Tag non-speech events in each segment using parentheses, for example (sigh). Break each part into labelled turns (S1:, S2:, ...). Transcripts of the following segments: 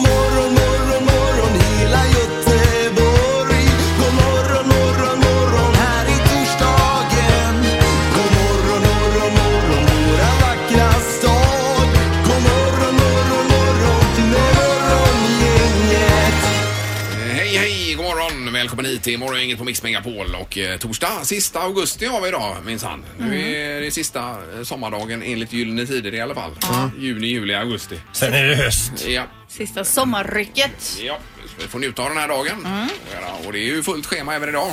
S1: morgon, morgon, morgon hela Göteborg. God morgon, morgon, morgon här i torsdagen. God morgon, morgon, morgon våra vackra stad. God morgon, morgon, morgon morgongänget.
S2: Hej, hej, god morgon. Välkommen hit till Morgongänget på Mix Megapol. Och eh, torsdag, sista augusti har vi idag minsann.
S3: Mhm.
S2: Nu är det sista eh, sommardagen enligt Gyllene Tider i alla fall. Juni, juli, augusti.
S3: Sen är det höst.
S2: Ja,
S4: Sista sommarrycket.
S2: ja. Så vi får njuta av den här dagen.
S3: Mm.
S2: Ja, och det är ju fullt schema även idag.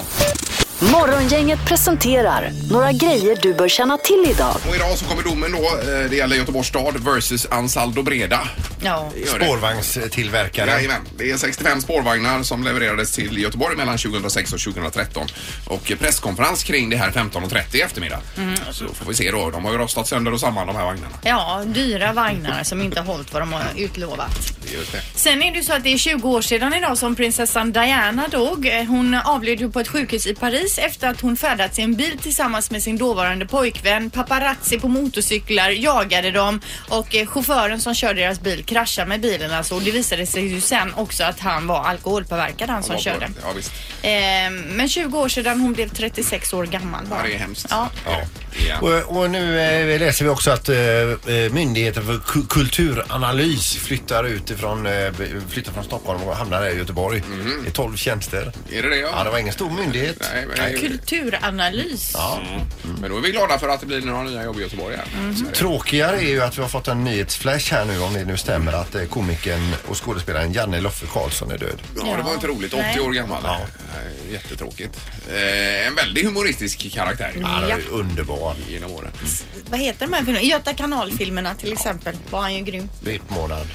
S5: Morgongänget presenterar några grejer du bör känna till idag.
S2: Och idag så kommer domen då. eh, Det gäller Göteborgs stad versus Ansaldo Breda.
S4: Ja.
S2: Det gör det.
S3: Spårvagnstillverkaren.
S2: Jajamän. Det är 65 spårvagnar som levererades till Göteborg mellan 2006 och 2013. Och presskonferens kring det här 15.30 i eftermiddag.
S4: Mm.
S2: Så får vi se då. De har ju rostat sönder och samman de här vagnarna.
S4: ja, dyra vagnar som inte har hållit vad de har utlovat.
S2: Just det.
S4: Sen är det ju så att det är 20 år sedan idag som prinsessan Diana dog. Eh, Hon avled ju på ett sjukhus i Paris efter att hon färdats i en bil tillsammans med sin dåvarande pojkvän. Paparazzi på motorcyklar jagade dem och eh, chauffören som körde deras bil kraschade med bilen alltså. Och det visade sig ju sen också att han var alkoholpåverkad han som
S2: Ja,
S4: körde.
S2: Ja, visst.
S4: Eh, Men 20 år sedan hon blev 36 år gammal.
S2: Ja, det är hemskt.
S4: Ja.
S2: Ja. Ja.
S3: Och, och nu eh, läser vi också att eh, eh, Myndigheten för ku- kulturanalys flyttar ut ifrån, eh, flyttar från Stockholm och hamnar här i Göteborg. Det är 12 tjänster.
S2: Mhm. Är det det? Ja.
S3: Ja, det var ingen stor myndighet.
S2: Nej, men,
S4: Kulturanalys.
S2: men då är vi glada för att det blir några nya jobb i Göteborg här.
S4: Mhm.
S2: Så är det.
S3: Tråkigare är ju att vi har fått en nyhetsflash här nu om det nu stämmer att eh, komikern och skådespelaren Janne Loffe Karlsson är död.
S2: Ja, det var inte roligt. 80
S4: Nej.
S2: år gammal.
S3: Ja.
S2: Nej, Jättetråkigt. Eh, en väldigt humoristisk karaktär
S3: Han är
S4: Ja.
S3: underbar.
S2: genom åren.
S4: Vad heter de här filmerna? Göta kanalfilmerna till exempel var han ju grym.
S3: VIP-månad.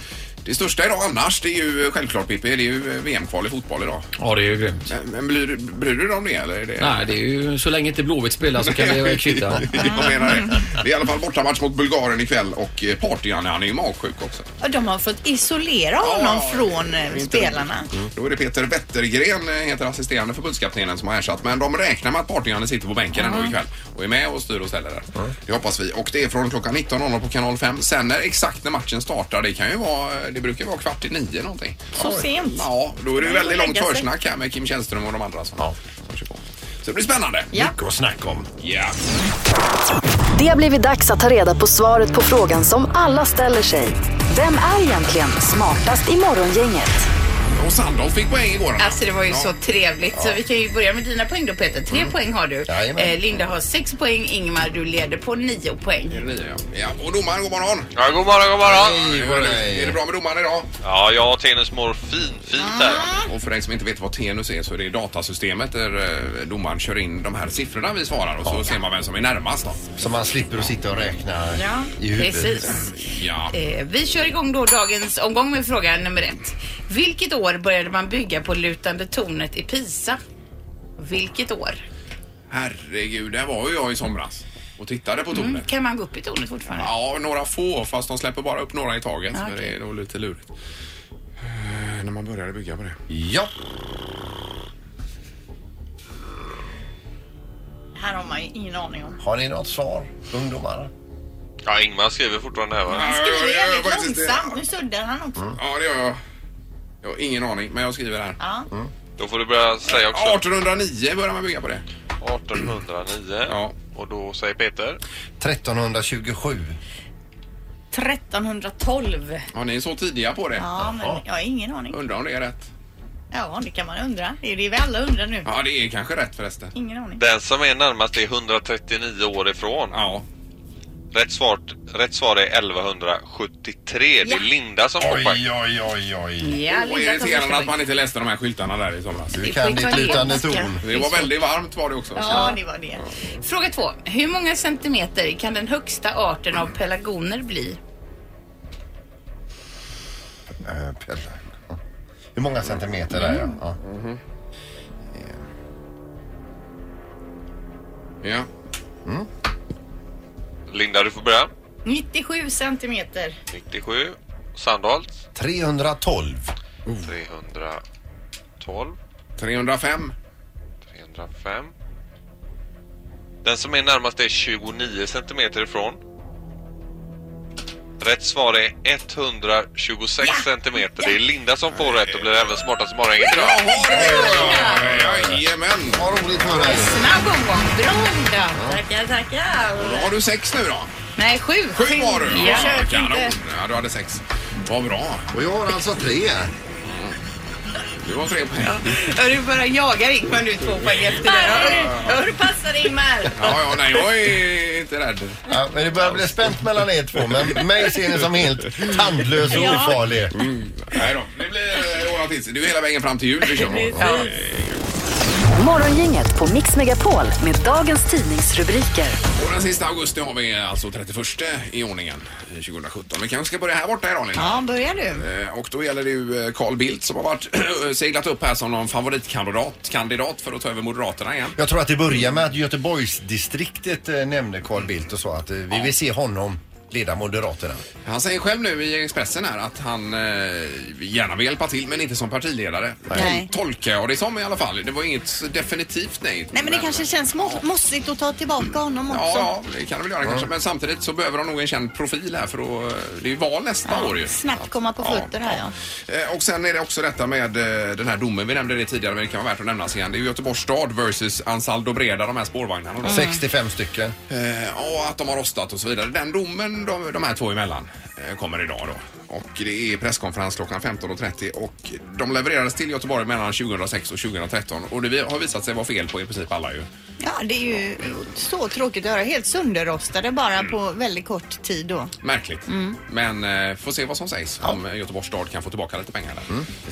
S2: Det största idag annars, det är ju eh, självklart Pippi, det är ju VM-kval i fotboll idag.
S6: Ja, det är ju grymt.
S2: Men- Men bryr, bryr du dig om det eller? Är det...
S6: Nej, det är ju så länge inte Blåvitt spelar så kan vi kvitta.
S2: (laughs) Jag menar det. Det är i alla fall bortamatch mot Bulgarien ikväll och eh, Party-Janne, han är ju magsjuk också.
S6: Mm.
S4: Och de har fått isolera honom
S2: Ja,
S4: från
S2: det är
S4: eh,
S2: inte
S4: spelarna.
S2: Då är det Peter Wettergren, eh, heter assisterande förbundskaptenen, som har ersatt. Men de räknar med att Party-Janne sitter på bänken
S6: Mm.
S2: ändå ikväll och är med och styr och ställer där. Det hoppas vi. Och det är från klockan 19.00 på kanal 5. Sen när, exakt när matchen startar, det kan ju vara, eh, det brukar vara kvart i nio någonting.
S4: Så sent.
S2: Ja, då är det ju
S4: Nej,
S2: väldigt
S4: lägga
S2: långt
S4: sig.
S2: försnack här med Kim Källström och de andra som,
S3: Ja.
S2: som kör på. Så det blir spännande.
S4: Ja.
S3: Mycket att snacka om.
S2: Ja.
S5: Det har blivit dags att ta reda på svaret på frågan som alla ställer sig. Vem är egentligen smartast i morgongänget?
S2: Och Sandholt fick poäng igår. Anna.
S4: Alltså det var ju
S2: Ja. Mm.
S4: så trevligt. Så vi kan ju börja med dina poäng då Peter. Tre poäng har du.
S3: Jajamän.
S4: Eh, Linda har sex poäng. Ingmar du leder på nio poäng.
S2: Ja, och domaren, god morgon.
S7: Ja, god morgon, god morgon.
S2: Hur är det? Är det bra med domaren idag?
S7: Ja, jag och Tenus mår fin, fint här.
S2: Och för dig som inte vet vad Tenus är så är det datasystemet där eh, domaren kör in de här siffrorna vi svarar och så ser man vem som är närmast. Då.
S3: Så man slipper att sitta och räkna
S4: Ja,
S3: i huvudet.
S4: precis.
S2: Ja.
S4: Eh, vi kör igång då dagens omgång med fråga nummer ett. Vilket år började man bygga på lutande tornet i Pisa? Vilket år?
S2: Herregud, där var ju jag i somras och tittade på tornet.
S4: Mm, kan man gå upp i tornet fortfarande?
S2: Ja, några få fast de släpper bara upp några i taget.
S4: Ja,
S2: Men
S4: Ah, okej.
S2: det är nog lite lurigt. Eh, När man började bygga på det.
S3: Ja.
S4: Här har man ju ingen aning om.
S3: Har ni något svar, ungdomar?
S7: Ja, Ingmar skriver fortfarande här va?
S4: Han skriver
S2: Ja, jag gör
S4: jävligt
S2: faktiskt det. Mm.
S4: långsamt. Nu suddar han också.
S2: Ja, det gör jag. Jag har ingen aning, men jag skriver här.
S4: Ja.
S7: Då får du börja säga också.
S2: 1809 började man bygga på det.
S7: 1809.
S2: Ja.
S7: Och då säger Peter.
S3: 1327.
S4: 1312.
S2: Ja, ni är så tidiga på det.
S4: Ja, men jag har ingen aning.
S2: Undrar om det är rätt.
S4: Ja, det kan man undra. Det är det vi alla undrar nu.
S2: Ja, det är kanske rätt förresten.
S4: Ingen aning.
S7: Den som är närmast är 139 år ifrån.
S2: Ja.
S7: Rätt, svar, rätt svar är 1173. Det
S4: Ja.
S7: är Linda som får poäng.
S3: Oj, oj, oj, oj.
S4: Ja,
S2: Och irriterande att man inte läste de här skyltarna där i somras.
S3: Du kan ditt lutande ton.
S2: Det var väldigt varmt var det också.
S4: Ja, det var det. Fråga två. Hur många centimeter kan den högsta arten av pelargoner bli?
S3: Eh, Pelle. Hur många centimeter är det? Ja.
S2: Ja.
S7: Linda, du får börja.
S8: 97 centimeter.
S7: 97. Sandholt.
S3: 312.
S9: Oh.
S7: 312.
S2: 305.
S7: 305. Den som är närmast är 29 centimeter ifrån. Rätt svar är 126 centimeter. Det är Linda som får rätt och blir även smartast i morgon.
S2: Jaha, det är bra! Jajamän!
S3: Vad roligt med dig.
S8: Snabb omgång. Bra Linda. Tackar, tackar.
S2: Då har du sex nu då.
S8: Nej, sju.
S2: Sju var du!
S8: Jag
S2: Ja,
S8: försöker
S2: kanon!
S8: inte.
S2: Ja, du hade sex. Vad bra.
S3: Och jag har alltså tre.
S2: Du har tre poäng.
S8: Ja, Du bara jagar Ingmar nu två poäng efter det. Hör du passar Ingmar.
S2: Ja, ja, nej, jag är inte rädd.
S3: Ja, men det börjar bli spänt mellan er två, men mig ser ni som helt tandlös och ofarlig.
S2: Nej då, det blir eh, ordnat tills. Det är ju hela vägen fram till jul vi kör.
S8: Ja.
S5: Morgongänget på Mix Megapol med dagens tidningsrubriker.
S2: Och den sista augusti har vi alltså 31 i ordningen i 2017. Vi kanske ska börja här borta idag Linda.
S8: Ja, börjar du.
S2: Eh, Och då gäller det ju eh, Carl Bildt som har varit (clears throat) seglat upp här som någon favoritkandidat kandidat för att ta över Moderaterna igen.
S3: Jag tror att det börjar med att Göteborgsdistriktet eh, nämnde Carl Bildt och sa att eh, vi vill se honom leda Moderaterna.
S2: Han säger själv nu i Expressen här att han eh, gärna vill hjälpa till men inte som partiledare.
S4: Nej.
S2: Tol- Tolkar jag det som i alla fall. Det var inget definitivt nej.
S4: Nej men det kanske känns mo- mossigt att ta tillbaka honom också.
S2: Ja, ja, det kan det väl göra kanske. Men samtidigt så behöver de nog en känd profil här för att, eh, det är ju val nästa år ju.
S4: Snabbt komma på fötter här ja.
S2: Eh, Och sen är det också detta med eh, den här domen, vi nämnde det tidigare men det kan vara värt att nämnas igen. Det är ju Göteborgs stad versus Ansaldo Breda, de här spårvagnarna. då.
S3: 65 stycken.
S2: Eh, Och att de har rostat och så vidare. Den domen de, de här två emellan eh, kommer idag då. Och det är presskonferens klockan 15.30 och de levererades till Göteborg mellan 2006 och 2013 och det vi- har visat sig vara fel på i princip alla ju.
S4: Ja det är ju så tråkigt att höra. Helt sönderrostade bara på väldigt kort tid då.
S2: Märkligt. Men eh, får se vad som sägs om eh, Göteborgs stad kan få tillbaka lite pengar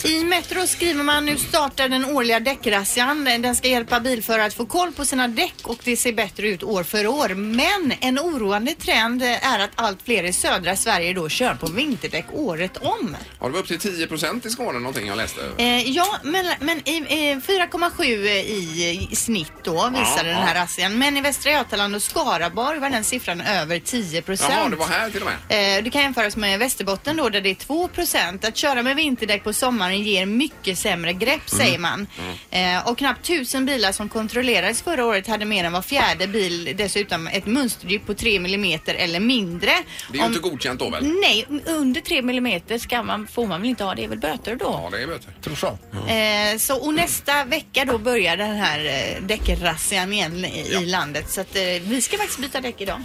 S2: där.
S4: I Metro skriver man nu startar den årliga däckrazzian. Den ska hjälpa bilförare att få koll på sina däck och det ser bättre ut år för år. Men en oroande trend är att allt fler i södra Sverige då kör på vinterdäck året om.
S2: Ja, det var upp till 10 i Skåne någonting jag läste.
S4: Eh, ja, men, men i, eh, 4,7 i i snitt då visar
S2: Ja,
S4: den
S2: ja.
S4: här razzian. Men i Västra Götaland och Skaraborg var den siffran över 10 procent.
S2: Jaha, det var här till och med.
S4: Eh, Det kan jämföras med Västerbotten då där det är 2 Att köra med vinterdäck på sommaren ger mycket sämre grepp
S2: Mm.
S4: säger man. Eh, Och knappt tusen bilar som kontrollerades förra året hade mer än var fjärde bil dessutom ett mönsterdjup på 3 millimeter eller mindre.
S2: Det är ju inte godkänt då väl?
S4: Nej, under 3 millimeter ska man, får man väl inte ha. Det är väl böter då?
S2: Ja, det är böter.
S3: Tror så.
S4: Eh, så, och nästa vecka då börjar den här eh, däckrassian igen i, i landet. Så att, eh, vi ska faktiskt byta däck idag.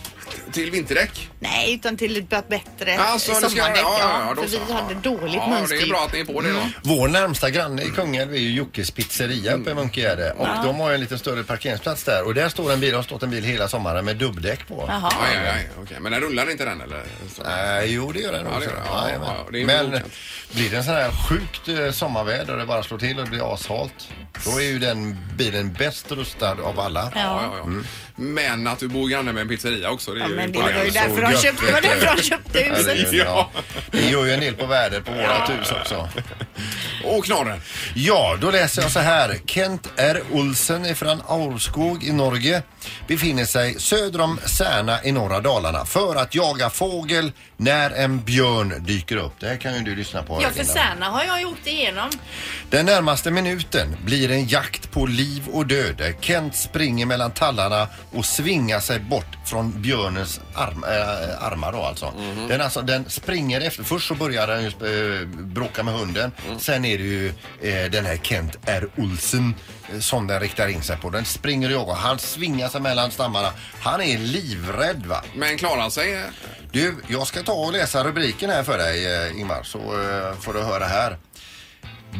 S2: Till vinterdäck?
S4: Nej, utan till ett b- bättre eh,
S2: Alltså, det ska-
S4: Äh, sommardäck.
S2: ja, ja, ja, då
S4: för vi
S2: så.
S4: hade dåligt
S2: ja,
S4: mönster.
S2: det är
S4: Mm.
S2: bra att ni är på det då.
S3: Vår närmsta granne i Kungälv är ju Jockes pizzeria uppe i
S2: Mm.
S3: Munkegärde och de har ju en lite större parkeringsplats där och där står en bil, har stått en bil hela sommaren med dubbdäck på.
S4: Jaha.
S2: Ja, ja, ja, okej. Men den rullar inte den eller? Så.
S3: Nej, jo det gör den
S2: Ja,
S3: också.
S2: det gör den. Ja,
S3: Jajamän.
S2: ja, det är ju
S3: Men
S2: godkänt.
S3: blir det en sån här sjukt eh, sommarväder och det bara slår till och det blir ashalt, då är ju den bilen bäst rustad av alla.
S2: Ja, ja, ja. Men att du bor granne med en pizzeria också, det är
S4: Ja,
S2: ju
S4: men det
S2: imponerande.
S4: var ju
S3: så
S4: därför de
S3: gött,
S4: köpte, det var
S3: vet du.
S2: (laughs)
S4: därför de köpte
S3: Ja, det,
S4: huset.
S3: är ju- ja. det gör ju en del på värdet på vårat hus också.
S2: Och knorren.
S3: Ja, då läser jag så här. Kent R. Olsen ifrån Aurskog i Norge befinner sig söder om Särna i norra Dalarna för att jaga fågel när en björn dyker upp. Det här kan ju du lyssna på.
S8: Ja, för
S3: Linda.
S8: Särna har jag ju åkt igenom.
S3: Den närmaste minuten blir en jakt på liv och död där Kent springer mellan tallarna och svingar sig bort från björnens arm, äh, armar då alltså. Den, alltså. den springer efter. Först så börjar den ju, eh, bråka med hunden. Sen är det ju eh, den här Kent R. Olsen eh, som den riktar in sig på. Den springer och jagar. Han svingar sig mellan stammarna. Han är livrädd va.
S2: Men klarar sig. eh,
S3: Du, jag ska ta och läsa rubriken här för dig eh, Ingmar så eh, får du höra här.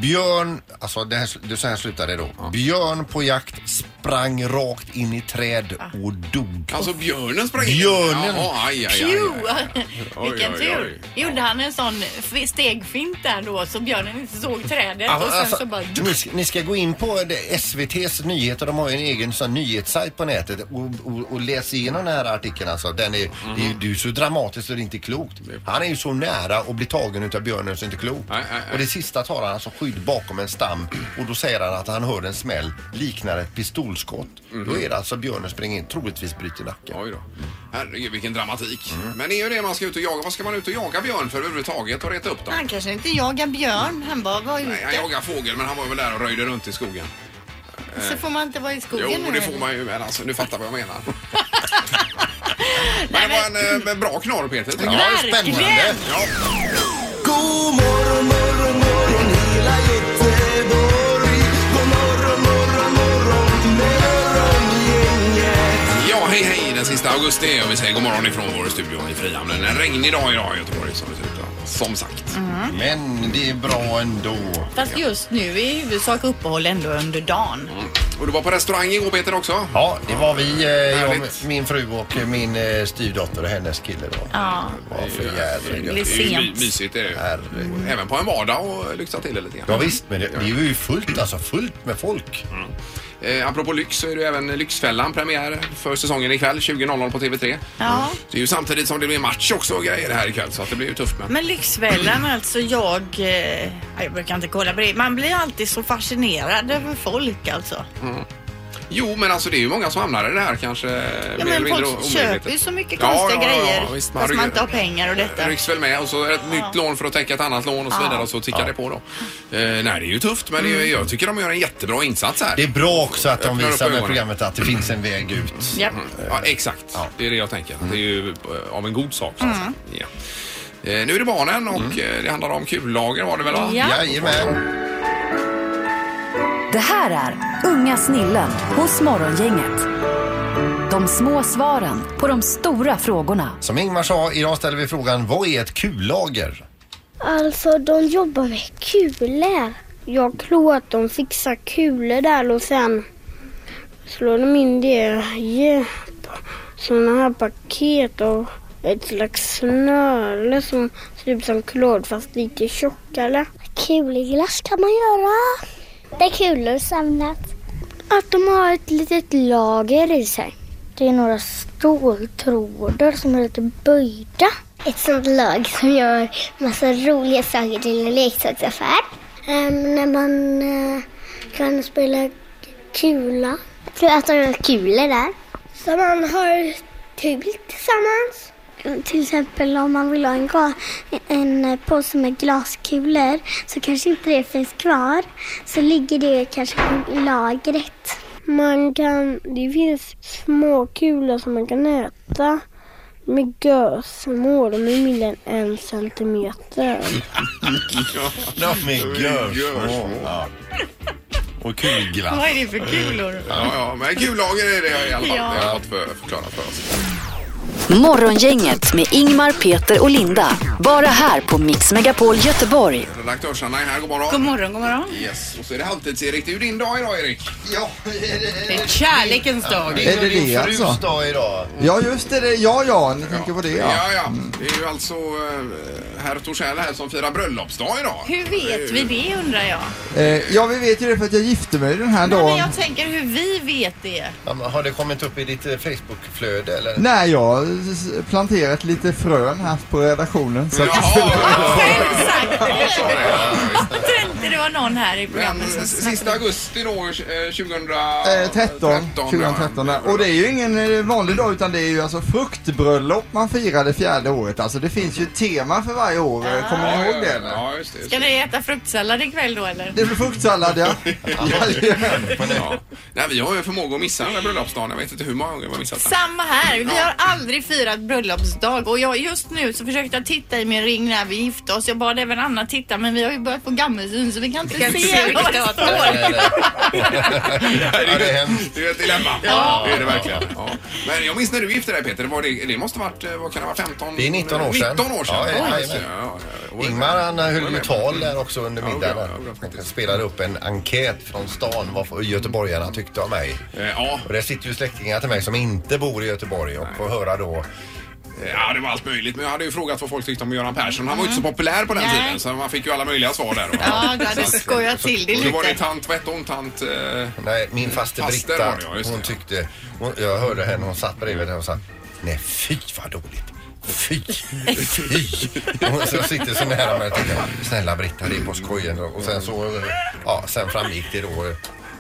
S3: Björn, alltså det här, det, så här slutar det då. Björn på jakt sprang rakt in i träd och dog.
S2: Alltså björnen sprang in.
S3: Björnen.
S2: Jaha, aj, aj, aj, aj.
S8: Pju!
S4: (laughs)
S2: Oj,
S8: Vilken
S2: oj,
S8: tur.
S2: oj.
S8: Gjorde han en sån f- stegfint där då så björnen inte såg trädet
S2: Alltså,
S8: och sen så bara...
S3: alltså, ni, ska- ni ska gå in på det- SVTs nyheter, de har ju en egen sån nyhetssajt på nätet och, och, och läs igenom den här artikeln alltså. Den är, det, är, ju- det är ju så dramatiskt så det är inte klokt. Han är ju så nära att bli tagen utav björnen så det är inte klokt.
S2: Nej, nej, nej.
S3: Och det sista tar han alltså sju skydd bakom en stam och då säger han att han hör en smäll liknar ett pistolskott.
S2: Mhm.
S3: Då är det alltså björnen springer in, troligtvis bryter nacken.
S2: Oj då. Herregud vilken dramatik. Men det är ju det man ska ut och jaga. Vad ska man ut och jaga björn för överhuvudtaget och reta upp dem?
S8: Han kanske inte jagar björn. Han bara var
S2: Nej, han
S8: ute.
S2: jagar fågel men han var väl där och röjde runt i skogen.
S8: Så får man inte vara i skogen
S2: Jo,
S8: nu
S2: det
S8: heller.
S2: får man ju men alltså nu fattar jag vad (laughs) jag menar. men det var en, eh, en bra knorr Peter. tycker jag.
S8: Verkligen!
S2: Ja.
S1: God morgon, morgon, morgon hela Göteborg. God morgon, morgon, morgon morgongänget.
S2: Ja, hej hej den sista augusti och vi säger god morgon ifrån vår studio i Frihamnen. En regnig dag idag i Göteborg som det ser ut då. Som sagt.
S3: Men det är bra ändå.
S8: Fast just nu är i huvudsak uppehåll ändå under dagen.
S2: Och du var på restaurang igår Peter också?
S3: Ja, det var vi, eh, jag,
S2: Härligt.
S3: min fru och eh, min eh, styvdotter och hennes kille då.
S8: Ja.
S3: Vad för
S2: Det
S3: jävla
S2: är ju
S8: blir
S2: my-
S8: sent.
S2: mysigt det är det ju.
S3: Herregud.
S2: Även på en vardag och lyxa till det lite grann.
S3: Ja, visst, men det, det är ju fullt alltså, fullt med folk.
S2: Eh, apropå lyx så är det ju även Lyxfällan premiär för säsongen ikväll 20.00 på TV3.
S8: Ja.
S2: Det är ju samtidigt som det blir match också och grejer här ikväll så att det blir ju tufft men.
S4: Men Lyxfällan alltså, jag... Eh, ja, jag brukar inte kolla på det. Man blir alltid så fascinerad över folk alltså.
S2: Jo men alltså det är ju många som hamnar i det här kanske.
S8: Ja,
S2: mer eller
S8: men
S2: mindre
S8: folk
S2: omedvetet.
S8: köper ju så mycket konstiga grejer
S2: visst,
S8: fast man
S2: rycker-
S8: inte har pengar och detta.
S2: rycks väl med och så ett nytt lån för att täcka ett annat lån och så vidare och så tickar det på då. Eh, nej det är ju tufft men det
S8: Mm.
S2: är, ju- jag tycker de gör en jättebra insats här.
S3: Det är bra också att de
S2: Öppnar upp
S3: visar med
S2: ögonen.
S3: programmet att det finns en väg ut.
S8: Ja.
S2: Ja, exakt. Det är det jag tänker. Det är ju eh, av en god sak. Så att
S8: Mm.
S2: säga. Ja. Eh, Nu är det barnen och eh, det handlar om kullager var det väl? Va?
S8: Ja.
S3: Jajamän.
S5: Det här är Unga snillen hos Morgongänget. De små svaren på de stora frågorna.
S3: Som Ingmar sa, idag ställer vi frågan vad är ett kullager?
S10: Alltså de jobbar med kulor. Jag tror att de fixar kulor där och sen slår de in det i sådana här paket och ett slags snöre som ser ut som klåd fast lite tjockare. Kulglass kan man göra. Där kulor samlat. Att de har ett litet lager i sig. Det är några ståltrådar som är lite böjda. Ett sånt lag som gör massa roliga saker till en leksaksaffär. Ehm, när man eh, kan spela kula. Tror att de gör kulor där. Så man har kul tillsammans. Till exempel om man vill ha en, ga- en eh, påse med glaskulor så kanske inte det finns kvar. Så ligger det kanske i lagret. Man kan, det finns små kulor som man kan äta med gösmål. De är mindre än en centimeter.
S3: De är görsmå.
S2: görsmå.
S3: Ja. Och kulglass.
S4: Vad är det för kulor?
S2: Ja, ja, men kullager är det i alla fall.
S4: Ja.
S2: Det har jag fått för, förklarat för oss.
S5: Morgongänget med Ingmar, Peter och Linda. Bara här på Mix Megapol Göteborg.
S2: Redaktörs-Anna är här, god morgon.
S4: God morgon, god morgon.
S2: Yes, och så är det halvtids-Erik. Det är ju din dag idag Erik.
S1: Ja, är det,
S4: Det är kärlekens dag.
S3: Är det
S1: det
S3: din frus
S1: alltså?
S3: dag idag?
S1: ja just det, det, ja ja, ni tänker på det ja.
S2: Ja, ja. Det är ju alltså eh, herr Torssell här som firar bröllopsdag idag.
S4: Hur vet vi det undrar jag?
S1: Eh, ja vi vet ju det för att jag gifte mig den här
S4: Nej, men
S1: dagen.
S4: jag tänker hur vi vet det.
S3: Ja, men Har det kommit upp i ditt eh, Facebookflöde eller?
S1: Nej, jag har s- planterat lite frön här på redaktionen. Så att,
S2: Jaha!
S4: Exakt!
S2: Ja, det är det. Ja,
S4: Jag tror inte det var någon här i
S2: Men
S4: programmet som
S2: sista augusti då, eh, 2013.
S1: eh, 13, 2013
S2: ja.
S1: där. Och det är ju ingen eh, vanlig dag utan det är ju alltså fruktbröllop man firar det fjärde året. Alltså det finns ju ett tema för varje år. Eh, Kommer
S2: Ja,
S1: ni ihåg det
S2: ja,
S1: eller?
S2: ja, just det. Just
S4: Ska
S2: det.
S4: ni äta fruktsallad ikväll då eller?
S1: Det blir fruktsallad
S2: (laughs)
S1: ja. Jajamän.
S2: Ja. Nej, vi har ju en förmåga att missa den där bröllopsdagen. Jag vet inte hur många gånger vi har missat den.
S4: Samma här. Vi
S2: Ja.
S4: har aldrig firat bröllopsdag och jag, just nu så försökte jag titta i min ring när vi gifte oss. Jag bad även Anna titta men vi har ju börjat få gammelsyn så vi kan inte se vad det står.
S3: Nej, nej, nej. Ja, det är hemskt.
S2: Det är ju ett dilemma. Det är det verkligen. Ja. Men jag minns när du gifte dig Peter. Det, var det, det måste varit, eh, vad kan det vara, 15?
S3: Det är 19 år sedan.
S2: 19 år sedan.
S3: Ja, ja,
S2: just det. Ja, ja.
S3: Ingmar han eh, höll ju tal där också under
S2: Ja, det gjorde jag,
S3: middagen.
S2: det gjorde jag
S3: Han
S2: faktiskt.
S3: spelade upp en enkät från stan vad göteborgarna tyckte om mig.
S2: Eh, Ja,
S3: Och det sitter ju släktingar till mig som inte bor i Göteborg och får höra då.
S2: ja, det var allt möjligt. Men jag hade ju frågat vad folk tyckte om Göran Persson. Han var ju inte så populär på den
S4: Nej.
S2: tiden så man fick ju alla möjliga svar där.
S4: Ja, du hade skojat till det
S2: Och då var det
S4: lite.
S2: tant, vad hette hon, tant... Eh,
S3: Nej, min faster
S2: Faster
S3: Britta,
S2: var det, ja, just det,
S3: hon
S2: ja.
S3: tyckte, hon, jag hörde henne, hon satt bredvid henne och sa, nej fy vad dåligt. Fy! Fy! Och så sitter så nära mig och tänker, snälla Britta, det är på skojen. Och sen så, ja, sen framgick det då.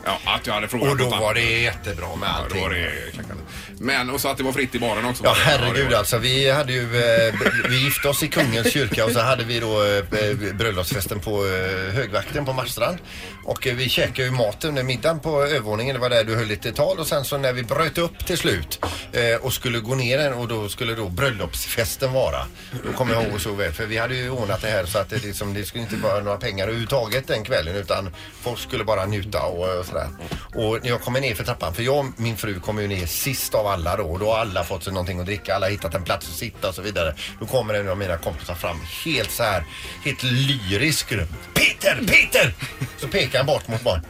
S2: Ja, att jag hade frågat
S3: Och då
S2: något
S3: var
S2: annat.
S3: det jättebra med
S2: Ja, då
S3: allting.
S2: var det klackat. Men och så att det var fritt i baren också.
S3: Ja
S2: var det.
S3: herregud
S2: det
S3: alltså, vi hade ju, eh, b- vi gifte oss i Kungens kyrka och så hade vi då eh, b- bröllopsfesten på eh, högvakten på Marstrand. Och eh, vi käkade ju maten, den middagen på övervåningen, det var där du höll lite tal och sen så när vi bröt upp till slut eh, och skulle gå ner och då skulle då bröllopsfesten vara. Då kommer jag ihåg så väl, för vi hade ju ordnat det här så att det, liksom, det skulle inte vara några pengar överhuvudtaget den kvällen utan folk skulle bara njuta och, och sådär. Och när jag kommer ner för trappan, för jag och min fru kommer ju ner sist av alla då och då har alla fått sig någonting att dricka, alla har hittat en plats att sitta och så vidare. Då kommer en av mina kompisar fram helt så här, helt lyrisk. Peter, Peter! Så pekar han bort mot barn.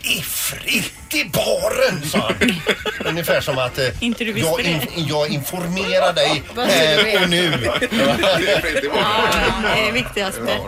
S3: I fritt i baren, sa han. Ungefär som att eh,
S4: Inte du visste
S3: jag, in, jag informerar dig
S4: (laughs) Vad du
S3: här
S4: vet.
S3: och nu. alltså.
S2: (laughs) är fritt i baren.
S4: Ja, det är viktigaste.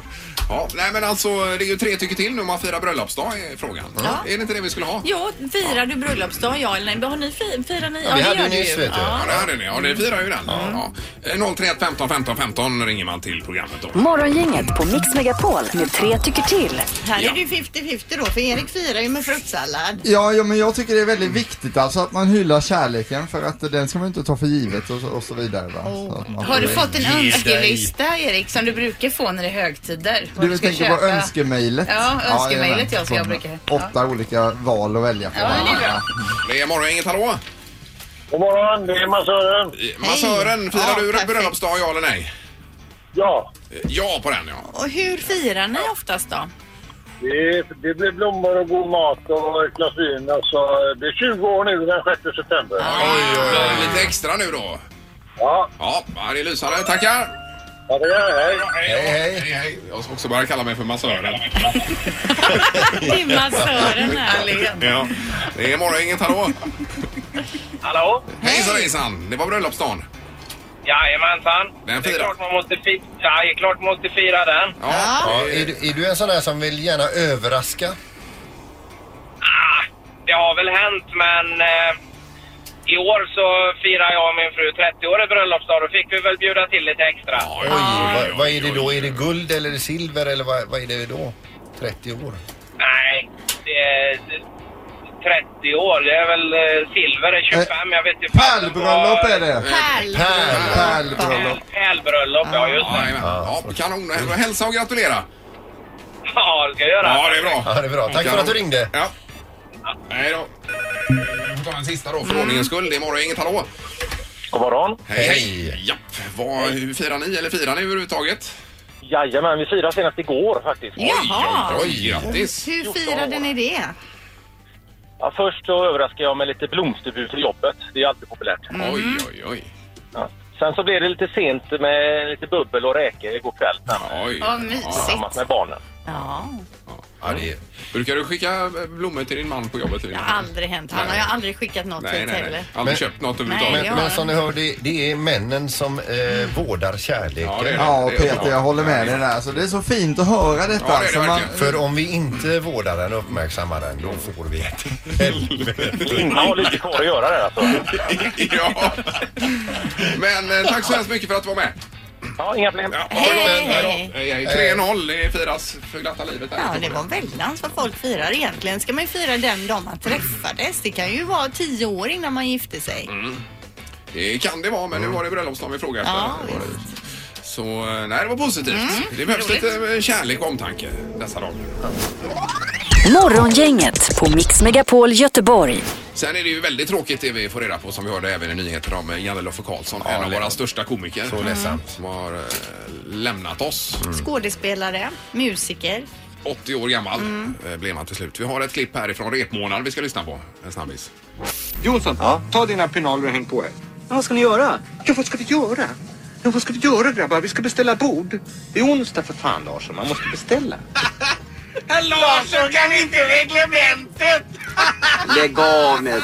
S2: Ja, nej men alltså det är ju tre tycker till nu om man firar bröllopsdag är frågan.
S4: Ja.
S2: Är det inte det vi skulle ha?
S4: Ja, firar du bröllopsdag? Ja eller nej? Vad Har ni fi- firar ni?
S2: vi
S4: det
S2: hade
S4: gör
S2: ju
S4: du
S2: nyss,
S4: ju.
S2: vet
S4: Ja.
S2: Ja, det hade ni. Ja, ni firar ju den. Ja. Eh, 031 15 15 15 ringer man till programmet då.
S5: Morgongänget på Mix Megapol med tre tycker till.
S8: Här är det ju 50-50 då, för Erik firar ju med fruktsallad.
S1: Ja, ja, men jag tycker det är väldigt viktigt alltså att man hyllar kärleken för att den ska man inte ta för givet och så, och så vidare. Va? Så att man
S11: Har du
S1: får-
S11: fått en
S1: Ge dig.
S11: önskelista Erik som du brukar få när det är högtider? Vad
S1: Du
S11: ska
S1: tänker på
S11: köpa?
S1: önskemejlet?
S11: Ja, önskemejlet
S1: jajamän.
S11: jag ska jag brukar.
S1: Från Åtta olika val att välja på.
S11: Ja, det är bra.
S2: Det är morgongänget, hallå? Eh,
S12: God morgon, det är Massören.
S2: Massören, firar
S4: Ja,
S2: du
S4: perfekt.
S2: bröllopsdag ja eller nej? Eh,
S12: Ja.
S2: Ja på den ja.
S4: Och hur firar ni
S2: (laughs)
S4: oftast då?
S12: Det, det blir blommor och god mat och ett glas vin. Alltså, det är 20 år nu den 6 september.
S2: Oj, oj, oj. Lite extra nu då.
S12: Ja.
S2: Ja, det är lysande. Tackar!
S12: Tackar, hej.
S2: Hej, hej. hej, hej. Jag ska också börja kalla mig för massören.
S4: Dimmasören här.
S2: Ja. Det är morgongänget, hallå?
S12: Hallå?
S2: Hejsan hejsan! Det var bröllopsdagen.
S13: Jajamensan.
S2: Den
S13: Det är
S2: firar.
S13: klart man måste fira, ja, det är klart man måste fira den.
S3: Ja, är, du, är du en sån där som vill gärna överraska?
S13: Det har väl hänt, men eh, i år så firar jag och min fru 30-årig bröllopsdag. Då fick vi väl bjuda till lite extra.
S3: Oj, vad, vad är det då? Är det guld eller är det silver eller vad, vad är det då? 30 år?
S13: Nej, det är, det- 30 år, det är väl eh, silver, det är 25,
S3: Eh,
S13: jag vet inte. fan.
S1: Pärlbröllop är det.
S3: Pärl.
S1: Pärlbröllop.
S13: Pärlbröllop, ja just det.
S2: Ja, kanon. Hälsa och gratulera.
S13: Ja, det ska jag göra.
S2: Ja, det är bra.
S3: Ja, det är bra. Tack för att du ringde.
S2: Ja. Hej då. Vi tar en sista då för ordningens skull. Det är morgongänget, hallå?
S12: God morgon.
S2: Hej, hej. Japp. Vad, hur firar ni? Eller firar ni överhuvudtaget?
S12: Jajamän, vi firade senast igår faktiskt.
S4: Jaha.
S2: Oj, grattis.
S4: Hur firade ni det?
S12: Ja, först så överraskade jag med lite blomsterbud till jobbet. Det är alltid populärt.
S2: Oj, oj, oj.
S12: Ja. Sen så blev det lite sent med lite bubbel och räkor igår kväll.
S2: Oj.
S11: Vad mysigt.
S12: Tillsammans med barnen.
S11: Ja,
S2: Brukar du skicka eh, blommor till din man på jobbet?
S4: Det har aldrig hänt. Han har ju aldrig skickat något
S2: Nej,
S4: hit
S2: nej, nej.
S4: heller.
S2: Aldrig köpt något överhuvudtaget.
S3: Men, men som ni hör, det, det är männen som eh, vårdar kärleken.
S2: Ja, det är det.
S1: Ja, Peter, jag håller med dig där. Alltså, det är så fint att höra detta. alltså, man,
S3: För om vi inte vårdar den och uppmärksammar den, då får vi ett
S12: Man har lite kvar att göra där alltså.
S2: (laughs) ja. Men eh, tack så hemskt mycket för att du var med.
S12: Ja, inga problem.
S2: Hej,
S4: hej.
S2: hej. 3-0. Det firas för glatta livet. Här.
S4: Ja, det var väldans vad folk firar egentligen. Ska man ju fira den dag man träffades. Det kan ju vara tio år innan man gifte sig.
S2: Mm. Det kan det vara, men
S3: Mm.
S2: nu var det bröllopsdagen vi frågade efter.
S4: Ja,
S2: Det var det. Så eh, nej, det var positivt. det behövs lite eh, kärlek och omtanke dessa dagar.
S5: Morgongänget på Mix Megapol Göteborg.
S2: Sen är det ju väldigt tråkigt det vi får reda på som vi hörde även i nyheter om eh, Janne Loffe Karlsson, en av våra största komiker.
S3: Så Mm. ledsamt.
S2: Som har eh, lämnat oss.
S4: Skådespelare, musiker.
S2: 80 år gammal eh, blev han till slut. Vi har ett klipp härifrån repmånaden vi ska lyssna på. En snabbis.
S14: Jonsson, ta dina pinaler och häng på er. Ja, vad ska ni göra? Ja, vad ska vi göra? Ja, vad ska vi göra grabbar? Vi ska beställa bord. Det är onsdag för fan Larsson, man måste (laughs) beställa.
S13: Herr Larsson kan inte reglementet!
S14: Lägg av med det.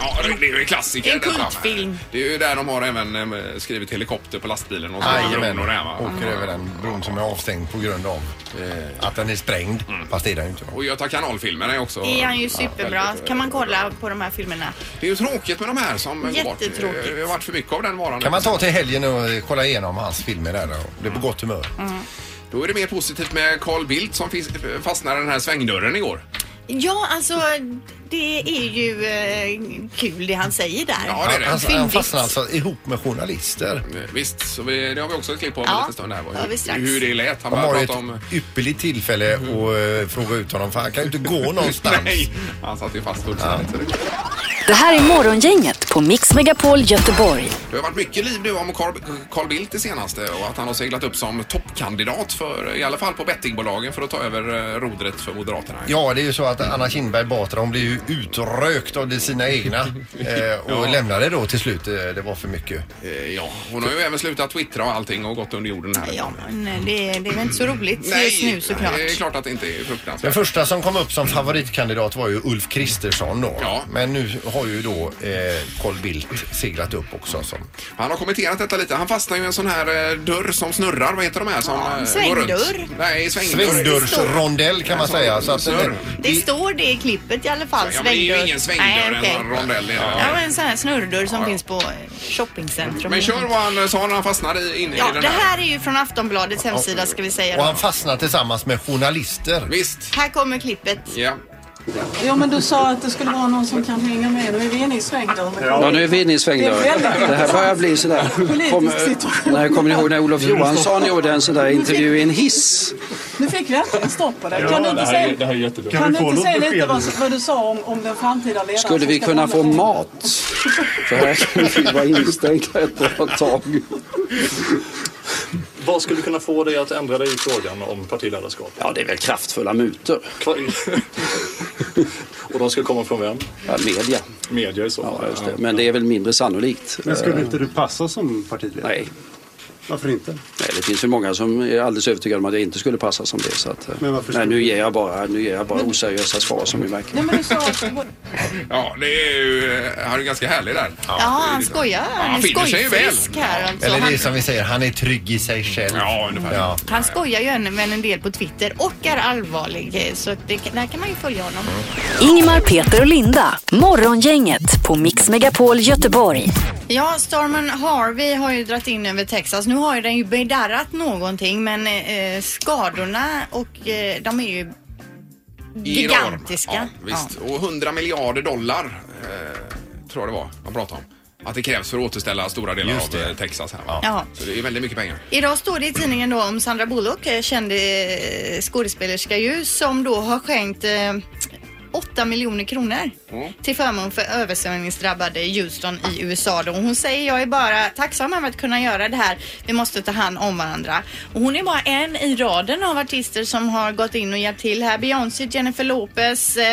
S2: Ja, det- det är ju en klassiker.
S4: En
S2: detta med.
S4: kultfilm.
S2: Det är ju där de har även eh, skrivit helikopter på lastbilen och så.
S3: Jajamän,
S2: och det här, va?
S3: åker över den bron som är avstängd på grund av
S2: Mm.
S3: eh, att den är sprängd.
S14: Mm.
S3: Fast det är den ju inte.
S2: Och Göta kanal-filmen är också...
S4: Är han ju
S2: ja,
S4: superbra.
S2: väldigt, eh,
S4: Kan man kolla på de här filmerna?
S2: Det är ju tråkigt med de här som går bort.
S4: Jättetråkigt.
S2: Det har varit för mycket av den varan.
S3: Kan man ta till helgen och eh, kolla igenom hans filmer där och bli på gott humör.
S2: Mm. Då är det mer positivt med Carl Bildt som finns- eh, fastnade i den här svängdörren igår.
S4: Ja, alltså det är ju eh, kul det han säger där.
S3: Han, han
S4: Fyndigt.
S3: fastnar alltså ihop med journalister.
S2: Eh, Visst, så vi, det har vi också ett klipp på om
S4: Ja,
S2: en liten stund här.
S4: det har vi
S2: Hur,
S4: strax.
S2: hur det lät. Han
S3: De har
S2: började
S3: ju
S2: prata om... Mm.
S3: ett ypperligt tillfälle att eh, fråga ut honom för han kan ju inte gå någonstans.
S2: (laughs) Nej, han satt ju fast fullständigt. så det-
S5: Det här är Morgongänget på Mix Megapol Göteborg.
S2: Det har varit mycket liv nu om Carl, Carl Bildt det senaste och att han har seglat upp som toppkandidat för, i alla fall på bettingbolagen för att ta över eh, rodret för Moderaterna.
S3: Ja, det är ju så att Anna Kinberg Batra hon blev ju utrökt av de
S2: (laughs)
S3: sina egna eh,
S2: Ja.
S3: och lämnade då till slut. eh, Det var för mycket.
S2: Eh, Ja, hon har ju även slutat twittra och allting och gått under jorden här. Ja,
S4: Men eh, det, det är väl inte så roligt just nu såklart.
S2: det är klart att det inte är fruktansvärt.
S3: Den första som kom upp som favoritkandidat var ju Ulf Kristersson då. Men nu har ju då eh, Carl Bildt seglat upp också. Som.
S2: Han har kommenterat detta lite. Han fastnar ju i en sån här eh, dörr som snurrar. Vad heter de här som... eh, går
S4: svängdörr.
S2: runt? Nej, svängdörr.
S3: Svängdörrsrondell kan man
S2: Alltså,
S3: säga. Så att, eh,
S2: Snurr.
S4: Det står det i klippet i alla fall.
S2: Ja, men det är ju
S4: svängdörr.
S2: ingen svängdörr,
S4: Nej, okej.
S2: en rondell. är det.
S4: Ja, men en sån här snurrdörr som finns på eh, shoppingcentrum.
S2: Men kör vad han eh, sa när han fastnade i- inne
S4: Ja,
S2: i den
S4: det
S2: här.
S4: här är ju från Aftonbladets hemsida ska vi säga.
S3: Och
S4: då.
S3: han fastnar tillsammans med journalister.
S2: Visst.
S4: Här kommer klippet.
S2: Ja.
S15: Ja, men du sa att det skulle vara någon som kan hänga med. Nu är vi inne i svängdörren.
S9: Ja, nu är vi inne i svängdörren.
S15: Det är väldigt
S9: Det här börjar bli sådär.
S15: Politisk
S9: Kommer-
S15: situation.
S9: nej, kommer ni ihåg när Olof Johansson gjorde en sån där intervju i en hiss?
S15: Nu fick vi äntligen stopp på det.
S9: Ja,
S15: Kan du inte
S9: det här är-
S15: säga,
S9: det här är jättedåligt.
S15: kan
S9: Kan
S15: du
S9: vi få
S15: inte säga
S9: något
S15: lite
S9: besked
S15: vad,
S9: nu?
S15: vad du sa om, om den framtida ledaren?
S9: Skulle vi
S15: som ska
S9: kunna
S15: komma
S9: få
S15: till-
S9: mat? För här kan vi vara instängda ett bra tag.
S16: Vad skulle kunna få dig att ändra dig i frågan om partiledarskap?
S9: Ja, det är väl kraftfulla mutor.
S16: (laughs) Och de ska komma från vem?
S9: Ja, media.
S16: Media i så fall.
S9: Ja, just det. Men det är väl mindre sannolikt.
S16: Men skulle inte
S9: du passa som partiledare? Nej. Varför inte? Nej, det finns ju många som är alldeles övertygade om att jag inte skulle passa som det. Så att, eh,
S16: Men varför
S9: nej,
S16: skulle-
S9: nu ger jag bara, nu ger jag bara oseriösa svar som vi märker.
S15: Nej, men du sa...
S2: Ja, det är ju... eh, Han är ju ganska härlig där.
S4: Ja, han skojar. Han är
S2: finner sig ju väl.
S4: skojfrisk här alltså.
S3: Eller det är
S4: Han,
S3: som vi säger, han är trygg i sig själv. Ja,
S2: ungefär.
S4: han skojar ju en- men en del på Twitter och är allvarlig. eh, Så att det, där kan man ju följa honom.
S5: Ingmar, Peter och Linda. Morgongänget på Mix Megapol Göteborg.
S4: Ja, stormen Harvey har ju dragit in över Texas. Nu har ju den ju bedarrat någonting men eh, skadorna och eh, de är ju gigantiska.
S2: Enorm. Ja, visst. Och 100 miljarder dollar eh, tror jag det var man pratade om. Att det krävs för att återställa stora delar av eh, Texas. Här, va?
S4: Ja.
S2: Så det är väldigt mycket pengar.
S4: Idag står det i tidningen då om Sandra Bullock, eh, känd eh, skådespelerska ju, som då har skänkt eh, 8 miljoner kronor till förmån för översvämningsdrabbade i Houston i USA. Då. Hon säger jag är bara tacksam över att kunna göra det här. Vi måste ta hand om varandra. Och hon är bara en i raden av artister som har gått in och hjälpt till här. Beyoncé, Jennifer Lopez, eh,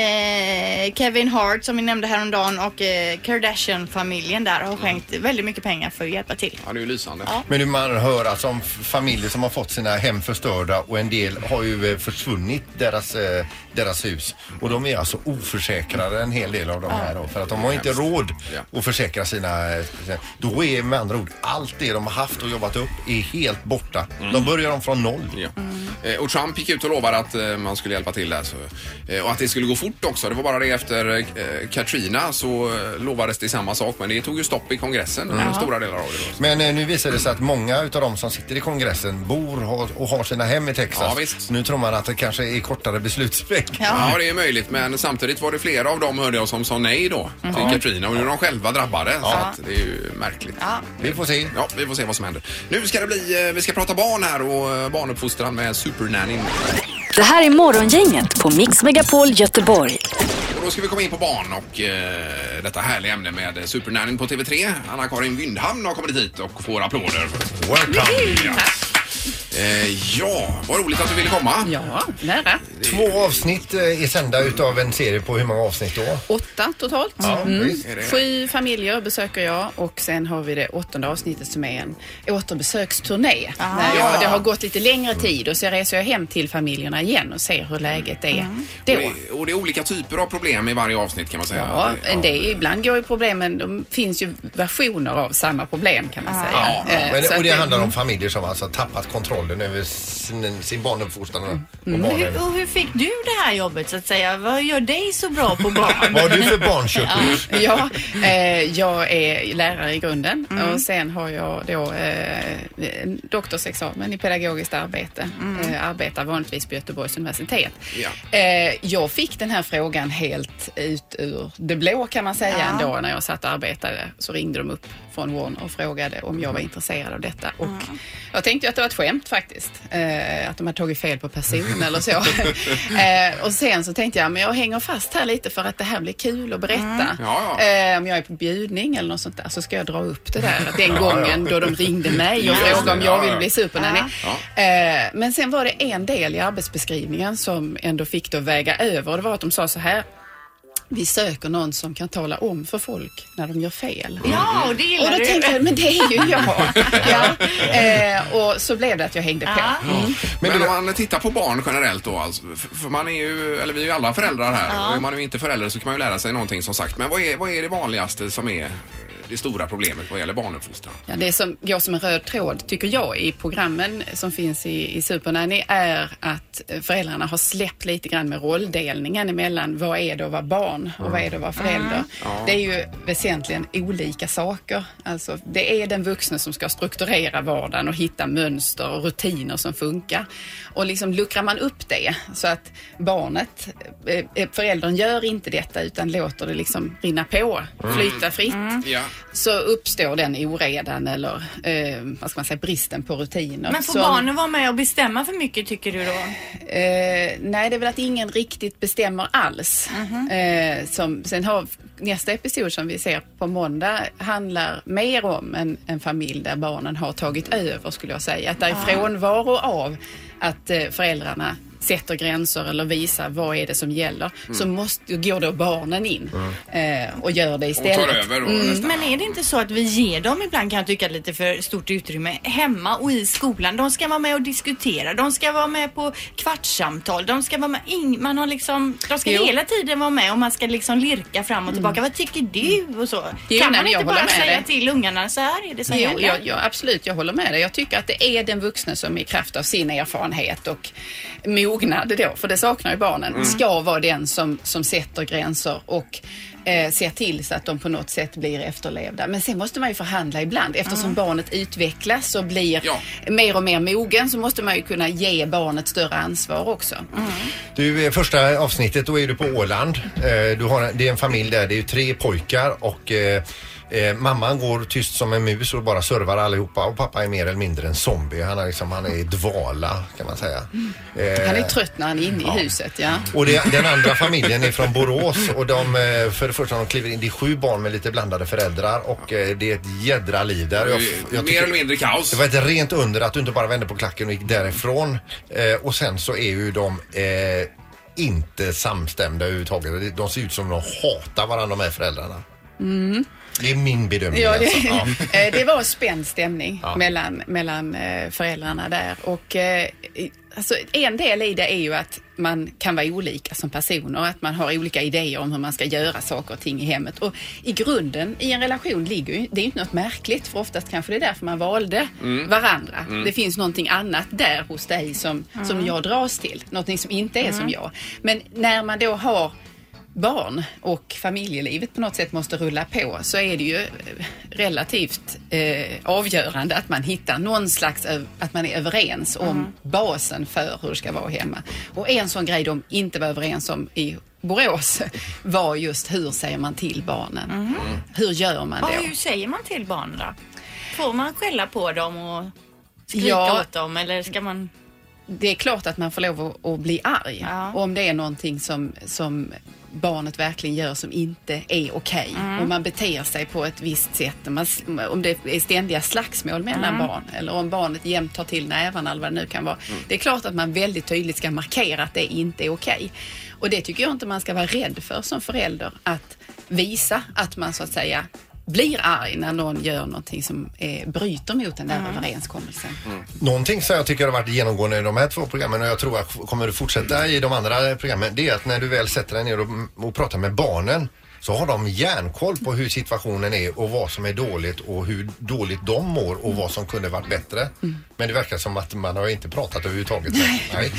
S4: eh, Kevin Hart som vi nämnde häromdagen och eh, Kardashian-familjen där har skänkt väldigt mycket pengar för att hjälpa till.
S2: Ja, det är ju lysande.
S3: Men nu man hör alltså om f- familjer som har fått sina hem förstörda och en del har ju eh, försvunnit deras, eh, deras hus. Och de är alltså oförsäkrade en hel del av de här då, för att de har inte råd att försäkra sina... eh, Då är med andra ord allt det de har haft och jobbat upp är helt borta.
S2: Mm.
S3: De börjar om från noll.
S2: Ja. Eh, Och Trump gick ut och lovade att eh, man skulle hjälpa till där. Så. eh, Och att det skulle gå fort också. Det var bara det efter eh, Katrina så eh, lovades det samma sak. Men det tog ju stopp i kongressen.
S3: Mm.
S2: eh, Stora delar av det.
S3: Men eh, nu visar det sig att många utav de som sitter i kongressen bor har- och har sina hem i Texas.
S2: Ja,
S3: Så nu tror man att det kanske är kortare beslutsväg.
S2: Ja. det är möjligt. Men samtidigt var det flera av dem hörde jag som sa nej då till
S3: Mhm.
S2: Katrina. Och nu är de själva drabbade. Så
S3: Ja.
S2: att det är ju märkligt.
S3: Vi får se.
S2: Ja, vi får se vad som händer. Nu ska det bli, eh, vi ska prata barn här och eh, barnuppfostran med supernannyn.
S5: Det här är Morgongänget på Mix Megapol Göteborg.
S2: Och då ska vi komma in på barn och eh, detta härliga ämne med eh, supernannyn på TV3. Anna-Karin Wyndhamn har kommit hit och får applåder.
S3: Welcome!
S2: Ja. Eh, ja, vad roligt att du ville komma.
S11: Ja, nära.
S3: Två avsnitt eh, är sända utav en serie på hur många avsnitt då?
S11: Åtta totalt.
S3: Ja, visst är det.
S11: Sju familjer besöker jag och sen har vi det åttonde avsnittet som är en återbesöksturné. När jag,
S2: Ja.
S11: Det har gått lite längre tid och så reser jag hem till familjerna igen och ser hur läget är
S4: Mm.
S11: då.
S2: Och det, och det är olika typer av problem i varje avsnitt kan man säga.
S11: Ja, en del, ibland går ju problemen, de finns ju versioner av samma problem kan man säga.
S3: Ja,
S11: Eh, så
S3: men, och
S11: att
S3: det handlar om familjer som alltså tappat kontrollen över sin, eh, sin barnuppfostran och- och
S4: Mm. Och
S3: barnen.
S4: hur, och hur fick du det här jobbet så att säga? Vad gör dig så bra på barn?
S3: (laughs) Vad har du för barnkörkort?
S11: Mm. Ja, ja eh, jag är lärare i grunden
S4: Mm.
S11: och sen har jag då eh, en doktorsexamen i pedagogiskt arbete.
S4: Mm.
S11: Eh, arbetar vanligtvis på Göteborgs universitet.
S2: Ja.
S11: Eh, jag fick den här frågan helt ut ur det blå kan man säga ändå när jag satt och arbetade. Så ringde de upp från Warner och frågade om
S4: Mm.
S11: jag var intresserad av detta. Och Jag tänkte ju att det var ett skämt faktiskt. Eh, att de hade tagit fel på person eller
S2: (laughs)
S11: så. eh, och sen så tänkte jag, men jag hänger fast här lite för att det här blir kul att berätta.
S4: Mm.
S2: Ja,
S11: Eh, om jag är på bjudning eller något sånt där så ska jag dra upp det där. Att Den
S2: Ja,
S11: gången
S2: ja.
S11: då de ringde mig och
S2: Just det,
S11: frågade om jag
S2: ja,
S11: ville
S2: ja.
S11: bli
S4: Ah.
S11: supernanny.
S2: Ja.
S11: Eh, Men sen var det en del i arbetsbeskrivningen som ändå fick då väga över och det var att de sa så här. Vi söker någon som kan tala om för folk när de gör fel.
S4: Ja, och det gillar
S11: Och då
S4: du.
S11: tänkte jag, men det är ju
S4: (laughs)
S11: jag. ja. eh, och så blev det att jag hängde på.
S4: Ah.
S11: Mm.
S2: Men, om man tittar på barn generellt då, alltså, f- för man är ju, eller vi är ju alla föräldrar här.
S11: Ja.
S2: Och är man ju inte förälder så kan man ju lära sig någonting som sagt. Men vad är, vad är det vanligaste som är det stora problemet vad gäller barnuppfostran?
S11: Ja, det som går som en röd tråd, tycker jag, i programmen som finns i, i Supernanny är att eh, föräldrarna har släppt lite grann med rolldelningen emellan vad är det att vara barn och vad är det att vara förälder.
S17: Mm. Ja.
S11: Det är ju väsentligen olika saker. Alltså, det är den vuxne som ska strukturera vardagen och hitta mönster och rutiner som funkar. Och liksom luckrar man upp det så att barnet, eh, eh, föräldern gör inte detta utan låter det liksom rinna på,
S17: Mm.
S11: flyta fritt
S2: Ja.
S11: så uppstår den oredan eller eh, vad ska man säga, bristen på rutiner.
S4: Men får
S11: som-
S4: barnen vara med och bestämma för mycket tycker du då?
S11: Eh, nej, det är väl att ingen riktigt bestämmer alls.
S4: Mhm.
S11: Eh, som, sen har nästa episod som vi ser på måndag handlar mer om en, en familj där barnen har tagit över skulle jag säga. Att det är
S17: Ah.
S11: frånvaro av att eh, föräldrarna sätter gränser eller visar vad är det som gäller. Så
S4: Mm.
S11: måste, går då barnen in eh, och gör det istället.
S4: Mm.
S11: Mm,
S4: Men är det inte så att vi ger dem ibland kan jag tycka lite för stort utrymme hemma och i skolan. De ska vara med och diskutera. De ska vara med på kvartssamtal. De ska vara med. In, man har liksom, de ska
S11: Jo. Mm.
S4: hela tiden vara med och man ska liksom lirka fram och tillbaka. Vad tycker du? Och så.
S11: Jo,
S4: kan
S11: nej,
S4: man
S11: men jag
S4: inte bara
S11: håller med
S4: säga
S11: dig.
S4: till ungarna så här är det som
S11: Jo,
S4: gäller?
S11: jag, jag, absolut, jag håller med dig. Jag tycker att det är den vuxne som i kraft av sin erfarenhet och mognad då, för det saknar ju barnen,
S17: Mm.
S11: ska vara den som, som sätter gränser och eh, ser till så att de på något sätt blir efterlevda. Men sen måste man ju förhandla ibland. Eftersom barnet utvecklas och blir mer och mer mogen så måste man ju kunna ge barnet större ansvar också.
S3: Du, eh, första avsnittet, då är du på Åland. Eh, Du har, en- det är en familj där, det är ju tre pojkar och eh, eh, mamman går tyst som en mus och bara servar allihopa och pappa är mer eller mindre en zombie. Han är, liksom, han är i dvala kan man säga. Eh,
S11: Han är trött när han är inne i huset, ja.
S3: och det, den andra familjen är från Borås och de, eh, för det första de kliver in, det är sju barn med lite blandade föräldrar och eh, det är ett jädra liv där.
S2: Det är mer eller mindre kaos.
S3: Det var ett rent under att du inte bara vände på klacken och gick därifrån. Eh, Och sen så är ju de eh, inte samstämda överhuvudtaget. De ser ut som de hatar varandra de här föräldrarna.
S11: Mm.
S3: Det är min bedömning
S11: Ja, det,
S3: alltså.
S11: (laughs) eh, det var spänd stämning
S3: Ja.
S11: mellan, mellan eh, föräldrarna där. Och, eh, i- alltså, en del i det är ju att man kan vara olika som personer, att man har olika idéer om hur man ska göra saker och ting i hemmet. Och i grunden i en relation ligger ju, det är ju inte något märkligt, för oftast kanske det är därför man valde
S17: Mm.
S11: varandra.
S17: Mm.
S11: Det finns någonting annat där hos dig som, som
S17: Mm.
S11: jag dras till, någonting som inte är som
S17: Mm.
S11: jag. Men när man då har barn och familjelivet på något sätt måste rulla på så är det ju eh, relativt eh, avgörande att man hittar någon slags, ö- att man är överens om
S17: Mm.
S11: basen för hur det ska vara hemma. Och en sån grej de inte var överens om i Borås var just hur säger man till barnen? Mm. Hur gör man
S4: Ja,
S11: då?
S4: hur säger man till barn då? Får man skälla på dem och skrika
S11: Ja.
S4: åt dem eller ska man...
S11: det är klart att man får lov att, att bli arg. Och om det är någonting som, som barnet verkligen gör som inte är okej.
S4: Mm.
S11: Om man beter sig på ett visst sätt. Om, man, s- om det är ständiga slagsmål mellan
S4: Mm.
S11: barn. Eller om barnet jämt tar till nävarna eller vad det nu kan vara.
S4: Mm.
S11: Det är klart att man väldigt tydligt ska markera att det inte är okej. Och det tycker jag inte man ska vara rädd för som förälder. Att visa att man så att säga blir arg när någon gör någonting som eh, bryter mot den där överenskommelsen.
S3: Någonting som jag tycker har varit genomgående i de här två programmen och jag tror att kommer att fortsätta i de andra programmen det är att när du väl sätter dig ner och, och pratar med barnen så har de järnkoll på hur situationen är och vad som är dåligt och hur dåligt de mår och vad som kunde varit bättre.
S11: Mm.
S3: Men det verkar som att man har inte pratat överhuvudtaget. Nej.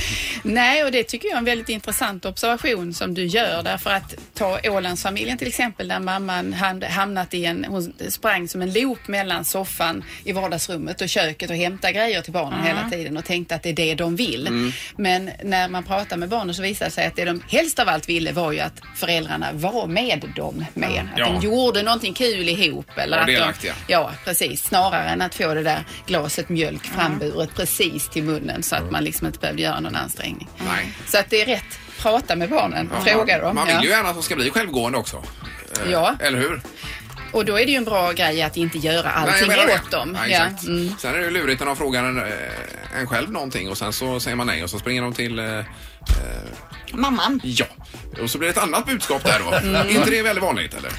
S11: Nej, och det tycker jag är en väldigt intressant observation som du gör därför att ta Ålandsfamiljen till exempel där mamman hand- hamnat i en, hon sprang som en loop mellan soffan i vardagsrummet och köket och hämtade grejer till barnen
S4: Mm.
S11: hela tiden och tänkte att det är det de vill.
S4: Mm.
S11: Men när man pratar med barnen så visar det sig att det de helst av allt ville var ju att föräldrarna var med dem mer. Att
S4: Ja.
S11: de gjorde någonting kul ihop. Eller
S4: Var
S11: att de,
S4: delaktiga.
S11: ja, precis. Snarare än att få det där glaset mjölk framburet precis till munnen så att man liksom inte behövde göra någon ansträngning.
S2: Nej.
S11: Så att det är rätt. Prata med barnen,
S2: Ja,
S11: Mm. fråga dem.
S2: Man vill
S11: ja.
S2: ju gärna att de ska bli självgående också. Eh,
S11: Ja.
S2: Eller hur?
S11: Och då är det ju en bra grej att inte göra allting
S2: Nej, jag menar
S11: åt
S2: det.
S11: dem. Mm.
S2: Ja, exakt. Sen är det ju lurigt när de frågar en, eh, en själv någonting och sen så säger man nej och så springer de till... eh, eh,
S4: Mamman.
S2: Ja. Och så blir det ett annat budskap där då.
S11: (laughs) Mm.
S2: inte det väldigt vanligt eller?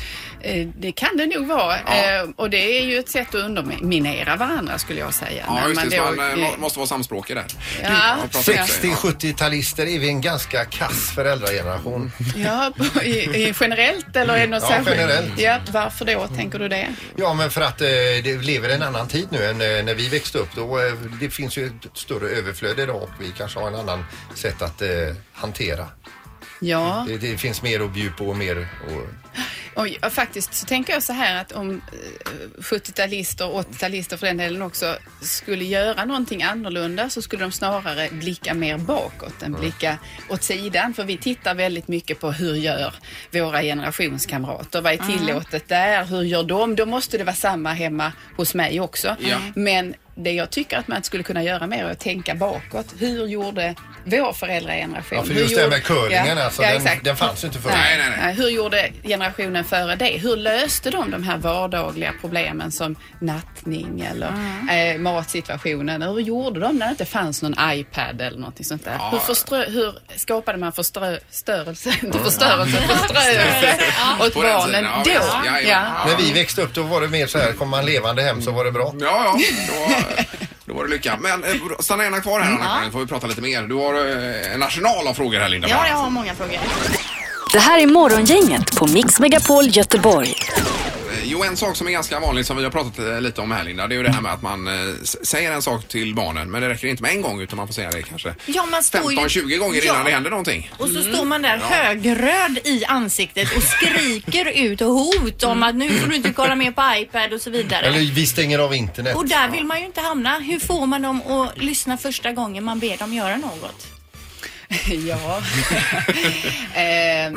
S11: Eh, Det kan det nog vara. Eh, Och det är ju ett sätt att underminera varandra skulle jag säga.
S2: Ja,
S11: När
S2: just det. så
S11: då,
S2: Man eh,
S11: eh,
S2: må- måste vara samspråkig där.
S11: Ja.
S2: Och prata ut sig.
S3: 60-70-talister är vi en ganska kass föräldrageneration.
S11: Ja, på- i, i generellt eller är det något
S3: Ja,
S11: särskilt?
S3: generellt.
S11: Ja, varför då tänker du det?
S3: Ja, men för att eh, det lever en annan tid nu än eh, när vi växte upp. Då, eh, det finns ju ett större överflöd idag och vi kanske har en annan sätt att eh, hantera.
S11: Ja,
S3: Det, det finns mer att bjuda på och mer och...
S11: och ja, faktiskt så tänker jag så här att om eh, 70-talister och 80-talister för den delen också skulle göra någonting annorlunda så skulle de snarare blicka mer bakåt än
S4: Mm.
S11: blicka åt sidan. För vi tittar väldigt mycket på hur gör våra generationskamrater? Vad är
S4: Mm.
S11: tillåtet där? Hur gör de? Då måste det vara samma hemma hos mig också.
S4: Ja.
S11: Men det jag tycker att man skulle kunna göra mer är att tänka bakåt. Hur gjorde vår föräldrageneration?
S3: Ja, för
S11: Hur
S3: just det här
S11: gjorde-
S3: med curlingen
S11: Ja,
S3: alltså,
S11: ja,
S3: den,
S11: exakt.
S3: den fanns ju inte förut.
S11: Nej, nej. Eh, Hur gjorde generationen före det? Hur löste de de här vardagliga problemen som nattning eller
S4: Mm.
S11: eh, matsituationen? Hur gjorde de när det inte fanns någon iPad eller någonting sånt där?
S4: Ja.
S11: Hur, förströ- hur skapade man förstörelse, inte
S4: (laughs)
S3: Mm.
S11: förstörelse, förströelse
S3: Ja.
S11: åt
S3: På den
S11: barnen
S3: tiden, ja,
S11: då?
S3: visst.
S11: Ja,
S3: (laughs) När vi växte upp då var det mer så här, kom man levande hem så var det bra.
S2: Ja, ja. Då var det lycka. Men eh, stanna gärna kvar här Anna-Karin, får vi prata lite mer. Du har eh, en arsenal av frågor här Linda.
S4: Ja, jag har många frågor.
S5: Det här är Morgongänget på Mix Megapol Göteborg.
S2: Eh, Jo, en sak som är ganska vanlig som vi har pratat eh, lite om här Linda, det är ju det här med att man eh, s- säger en sak till barnen men det räcker inte med en gång utan man får säga det kanske
S4: Ja, man står ju-
S2: 15-20 gånger
S4: Ja.
S2: innan det händer någonting.
S4: Och så
S2: Mm.
S4: står man där
S2: Ja.
S4: högröd i ansiktet och skriker ut och hot
S2: Mm.
S4: om att nu får du inte kolla mer på iPad och så vidare.
S3: Eller vi stänger av internet.
S4: Och där vill man ju inte hamna. Hur får man dem att lyssna första gången man ber dem göra något?
S11: (laughs)
S4: (laughs)
S11: ja. eh,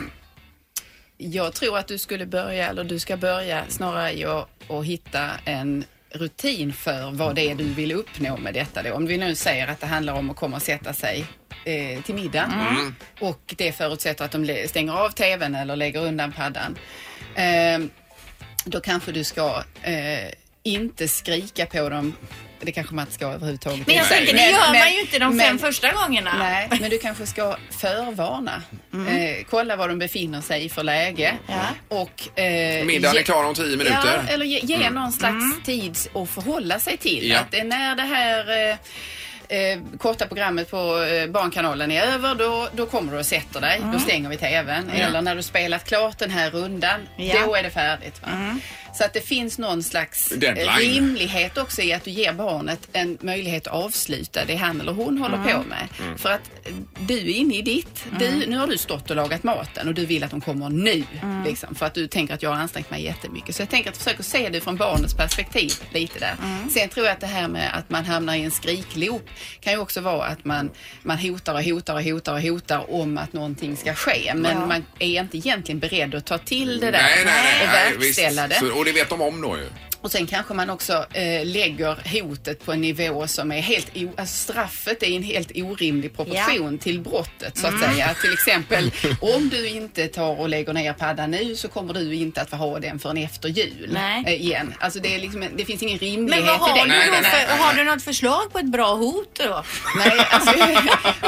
S11: jag tror att du skulle börja, eller du ska börja snarare i att, att hitta en rutin för vad det är du vill uppnå med detta. Då. Om vi nu säger att det handlar om att komma och sätta sig eh, till middag
S4: Mm.
S11: och det förutsätter att de le- stänger av tvn eller lägger undan paddan. Eh, då kanske du ska eh, inte skrika på dem. Det kanske man inte ska överhuvudtaget.
S4: Men jag
S11: Nej.
S4: tänker, det gör man ju inte de fem första gångerna. (laughs)
S11: Nej, men du kanske ska förvarna.
S4: Mm.
S11: Eh, kolla var de befinner sig i för läge. Och, eh,
S2: Middagen
S11: ge-
S2: är klar om 10 minuter.
S11: Ja, eller ge, ge
S2: Mm.
S11: någon slags tid att förhålla sig till.
S2: Ja.
S11: Att det är när det här eh, Eh, korta programmet på eh, Barnkanalen är över, då, då kommer du och sätter dig. Då stänger vi TVn.
S4: Ja.
S11: Eller när du spelat klart den här rundan,
S4: Ja.
S11: då är det färdigt. Va? Så att det finns någon slags eh,
S4: Deadline.
S11: rimlighet också i att du ger barnet en möjlighet att avsluta det han eller hon håller
S4: Mm.
S11: på med.
S4: Mm.
S11: För att du är inne i ditt.
S2: Mm.
S11: Du, nu har du stått och lagat maten och du vill att de kommer nu.
S4: Mm.
S11: Liksom, för att du tänker att jag har ansträngt mig jättemycket. Så jag tänker att försöka se det från barnets perspektiv lite där.
S2: Mm.
S11: Sen tror jag att det här med att man hamnar i en skrikloop kan ju också vara att man, man hotar och hotar och hotar och hotar om att någonting ska ske. Men
S2: Ja.
S11: man är inte egentligen beredd att ta till det där
S2: Nej, nej, nej.
S11: och
S2: nej,
S11: verkställa
S2: visst.
S11: det.
S2: Så, och det vet de om då ju.
S11: Och sen kanske man också eh, lägger hotet på en nivå som är helt o- alltså straffet är i en helt orimlig proportion till brottet så att
S4: Mm.
S11: säga.
S4: (laughs)
S11: Till exempel om du inte tar och lägger ner paddan nu så kommer du inte att få ha den förrän efter jul
S4: Nej.
S11: eh, igen. Alltså det, är liksom, en- det finns ingen rimlighet
S4: Men vad har
S11: i det.
S4: du då för, och har du något förslag på ett bra hot då?
S11: alltså, (laughs)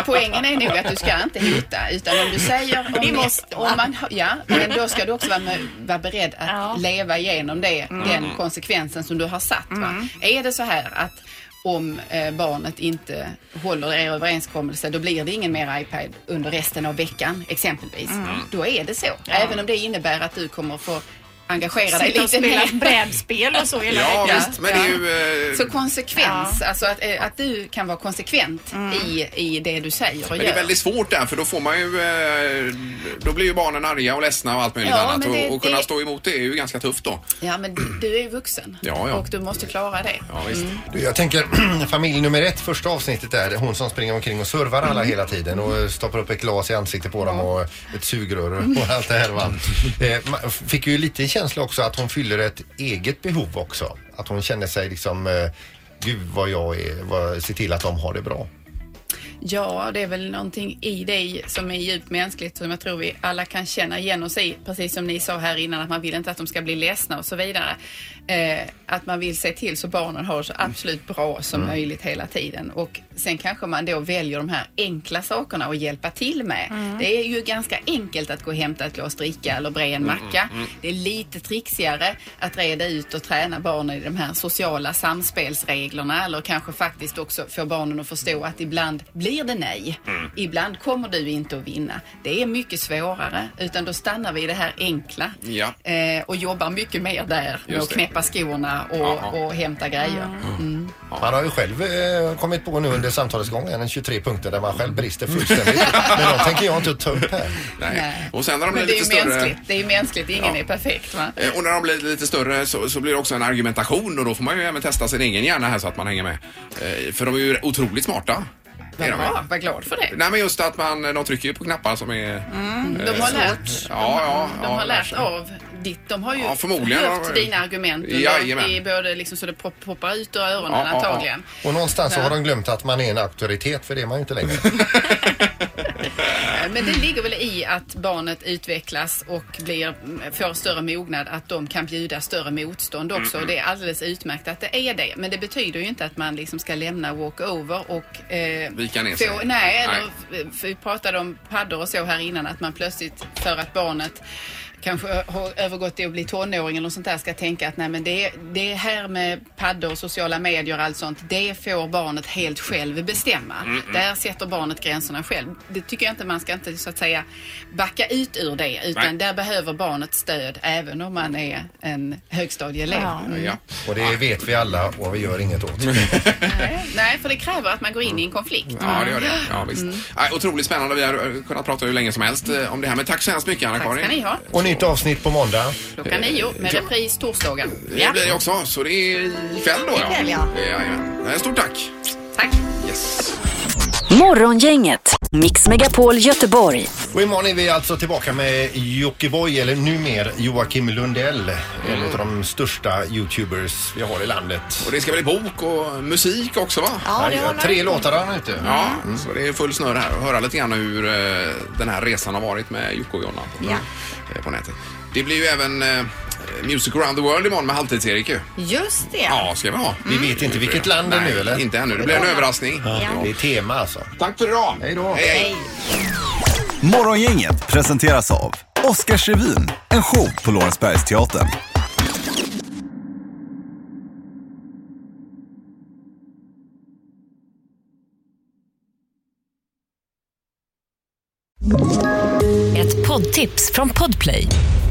S11: Poängen är nog att du ska inte hota utan om du säger
S4: Det
S11: om,
S4: måste
S11: om man, ja, men då ska du också vara, med, vara beredd att leva igenom det,
S4: Mm.
S11: den konsekvensen som du har satt. Va? Är det så här att om eh, barnet inte håller er överenskommelse då blir det ingen mer iPad under resten av veckan exempelvis.
S4: Mm.
S11: Då är det så.
S4: Ja.
S11: Även om det innebär att du kommer få engagera dig
S4: Sitta och
S11: lite
S4: spela
S11: mer.
S4: brädspel och så hela
S2: Ja,
S4: veckan.
S2: visst, men det är ju... eh,
S11: Så konsekvens,
S4: Ja. Mm.
S11: alltså att, eh, att du kan vara konsekvent i, i det du säger och
S2: Men det är
S11: gör.
S2: väldigt svårt där för då får man ju... eh, Då blir ju barnen arga och ledsna och allt möjligt
S11: Ja,
S2: annat.
S11: men det-
S2: och, och kunna
S11: det-
S2: stå emot det är ju ganska tufft då.
S11: Ja, men du- du är ju vuxen
S2: Ja, ja.
S11: och du måste klara det. Mm.
S3: Du, Jag tänker (clears throat) familj nummer ett, första avsnittet där, hon som springer omkring och servar alla
S11: Mm.
S3: hela tiden och eh, stoppar upp ett glas i ansiktet på dem och ett sugrör och allt det här. Va?
S11: Mm.
S3: Eh, man Fick ju lite känsla också att hon fyller ett eget behov också. Att hon känner sig liksom, eh, gud vad jag är, vad, se till att de har det bra.
S11: Ja, det är väl någonting i dig som är djupt mänskligt som jag tror vi alla kan känna igen oss i. Precis som ni sa här innan att man vill inte att de ska bli ledsna och så vidare. Eh, att man vill se till så barnen har det så absolut bra som
S4: Mm.
S11: möjligt hela tiden. Och sen kanske man då väljer de här enkla sakerna att hjälpa till med.
S4: Mm.
S11: Det är ju ganska enkelt att gå och hämta ett glas dricka eller bre en
S4: Mm,
S11: macka.
S4: mm, mm.
S11: Det är lite trixigare att reda ut och träna barnen i de här sociala samspelsreglerna eller kanske faktiskt också få barnen att förstå att ibland blir det nej.
S2: Mm.
S11: Ibland kommer du inte att vinna. Det är mycket svårare utan då stannar vi i det här enkla
S2: Ja.
S11: eh, och jobbar mycket mer där med
S3: Just
S11: att
S3: det.
S11: knäppa skorna
S3: Ja.
S11: och, och hämta grejer. Mm.
S3: Man har ju själv eh, kommit på nu under samtalets gång en 23 punkter där man själv brister
S11: Mm. (laughs)
S3: fullständigt. Men de tänker jag inte ta upp här.
S2: Nej. Och sen när de blir
S11: Men det är
S2: lite
S11: ju
S2: större...
S11: mänskligt. Det är ju mänskligt. Ingen är perfekt. Va?
S2: eh, Och när de blir lite större så, så blir det också en argumentation och då får man ju även testa sin egen hjärna här så att man hänger med. Eh, För de är ju otroligt smarta. Är de ju.
S11: Ja, var glad för det.
S2: Nej men just att man, de trycker ju på knappar som är...
S11: Mm, de
S2: eh,
S11: har
S2: så-
S11: lärt.
S2: Ja, ja.
S11: De
S2: ja,
S11: har lärt
S2: sig.
S11: av ditt. De har ju
S2: Ja, förmodligen har
S11: hört
S2: de-
S11: dina argument under-
S3: Jajamän.
S11: i både liksom så det pop- poppar ut ur öronen
S3: Ja, ja, ja.
S11: antagligen.
S3: Och någonstans så
S11: Ja.
S3: har de glömt att man är en auktoritet för det är man ju inte längre.
S11: Men det ligger väl i att barnet utvecklas och blir, får större mognad att de kan bjuda större motstånd också.
S4: Mm.
S11: Och det är alldeles utmärkt att det är det. Men det betyder ju inte att man liksom ska lämna walkover och eh,
S2: Vika ner sig.
S11: Få, nej, eller,
S2: Nej.
S11: f- för vi pratade om paddor och så här innan att man plötsligt för att barnet kanske ö- har övergått till att bli tonåring eller något sånt där ska tänka att nej men det, det här med paddor och sociala medier och allt sånt det får barnet helt själv bestämma.
S4: Mm, mm.
S11: Där sätter barnet gränserna själv. Det tycker jag inte man ska inte så att säga backa ut ur det utan
S3: Nej.
S11: där behöver barnet stöd även om man är en högstadieelev. Mm.
S3: Och det vet vi alla och vi gör inget åt.
S11: Nej, för det kräver att man går in i en konflikt.
S2: Ja, det gör det. Ja, visst. Nej, otroligt spännande. Vi har eh, kunnat prata hur länge som helst eh, om det här. Men tack så hemskt mycket,
S11: Tack
S2: Anna-Karin.
S11: ska ni ha.
S3: Och nytt avsnitt på måndag.
S11: Klockan nio med repris torsdagen.
S2: Det blir det också, så det är ikväll då.
S11: Ikväll, ja.
S2: Jajamän. Eh, Stort tack.
S11: Tack.
S2: Yes.
S5: Morgongänget, Mix Megapol Göteborg.
S3: Och imorgon är vi alltså tillbaka med Jockiboi, eller numer Joakim Lundell. En av de största YouTubers vi har i landet.
S2: Och det ska bli bok och musik också va?
S3: Ja, det Ja, håller. tre låtar har han ute.
S2: Ja, så det är full snurr här. Och höra lite grann hur eh, den här resan har varit med Jocke och Jonna på,
S4: Ja.
S2: eh, på nätet. Det blir ju även eh, Music around the world imorgon med Halvtids-Erik ju.
S4: Just det.
S2: Ja, ska vi ha. Mm.
S3: Vi vet inte vilket land det är
S2: Nej,
S3: nu eller?
S2: inte ännu. Det blir en överraskning.
S3: Ja. Det är tema alltså.
S2: Tack för idag. Hej
S3: då.
S2: Hej.
S18: Morgongänget presenteras av Oscarsrevyn, en show på Lorensbergsteatern.
S19: Ett poddtips från Podplay.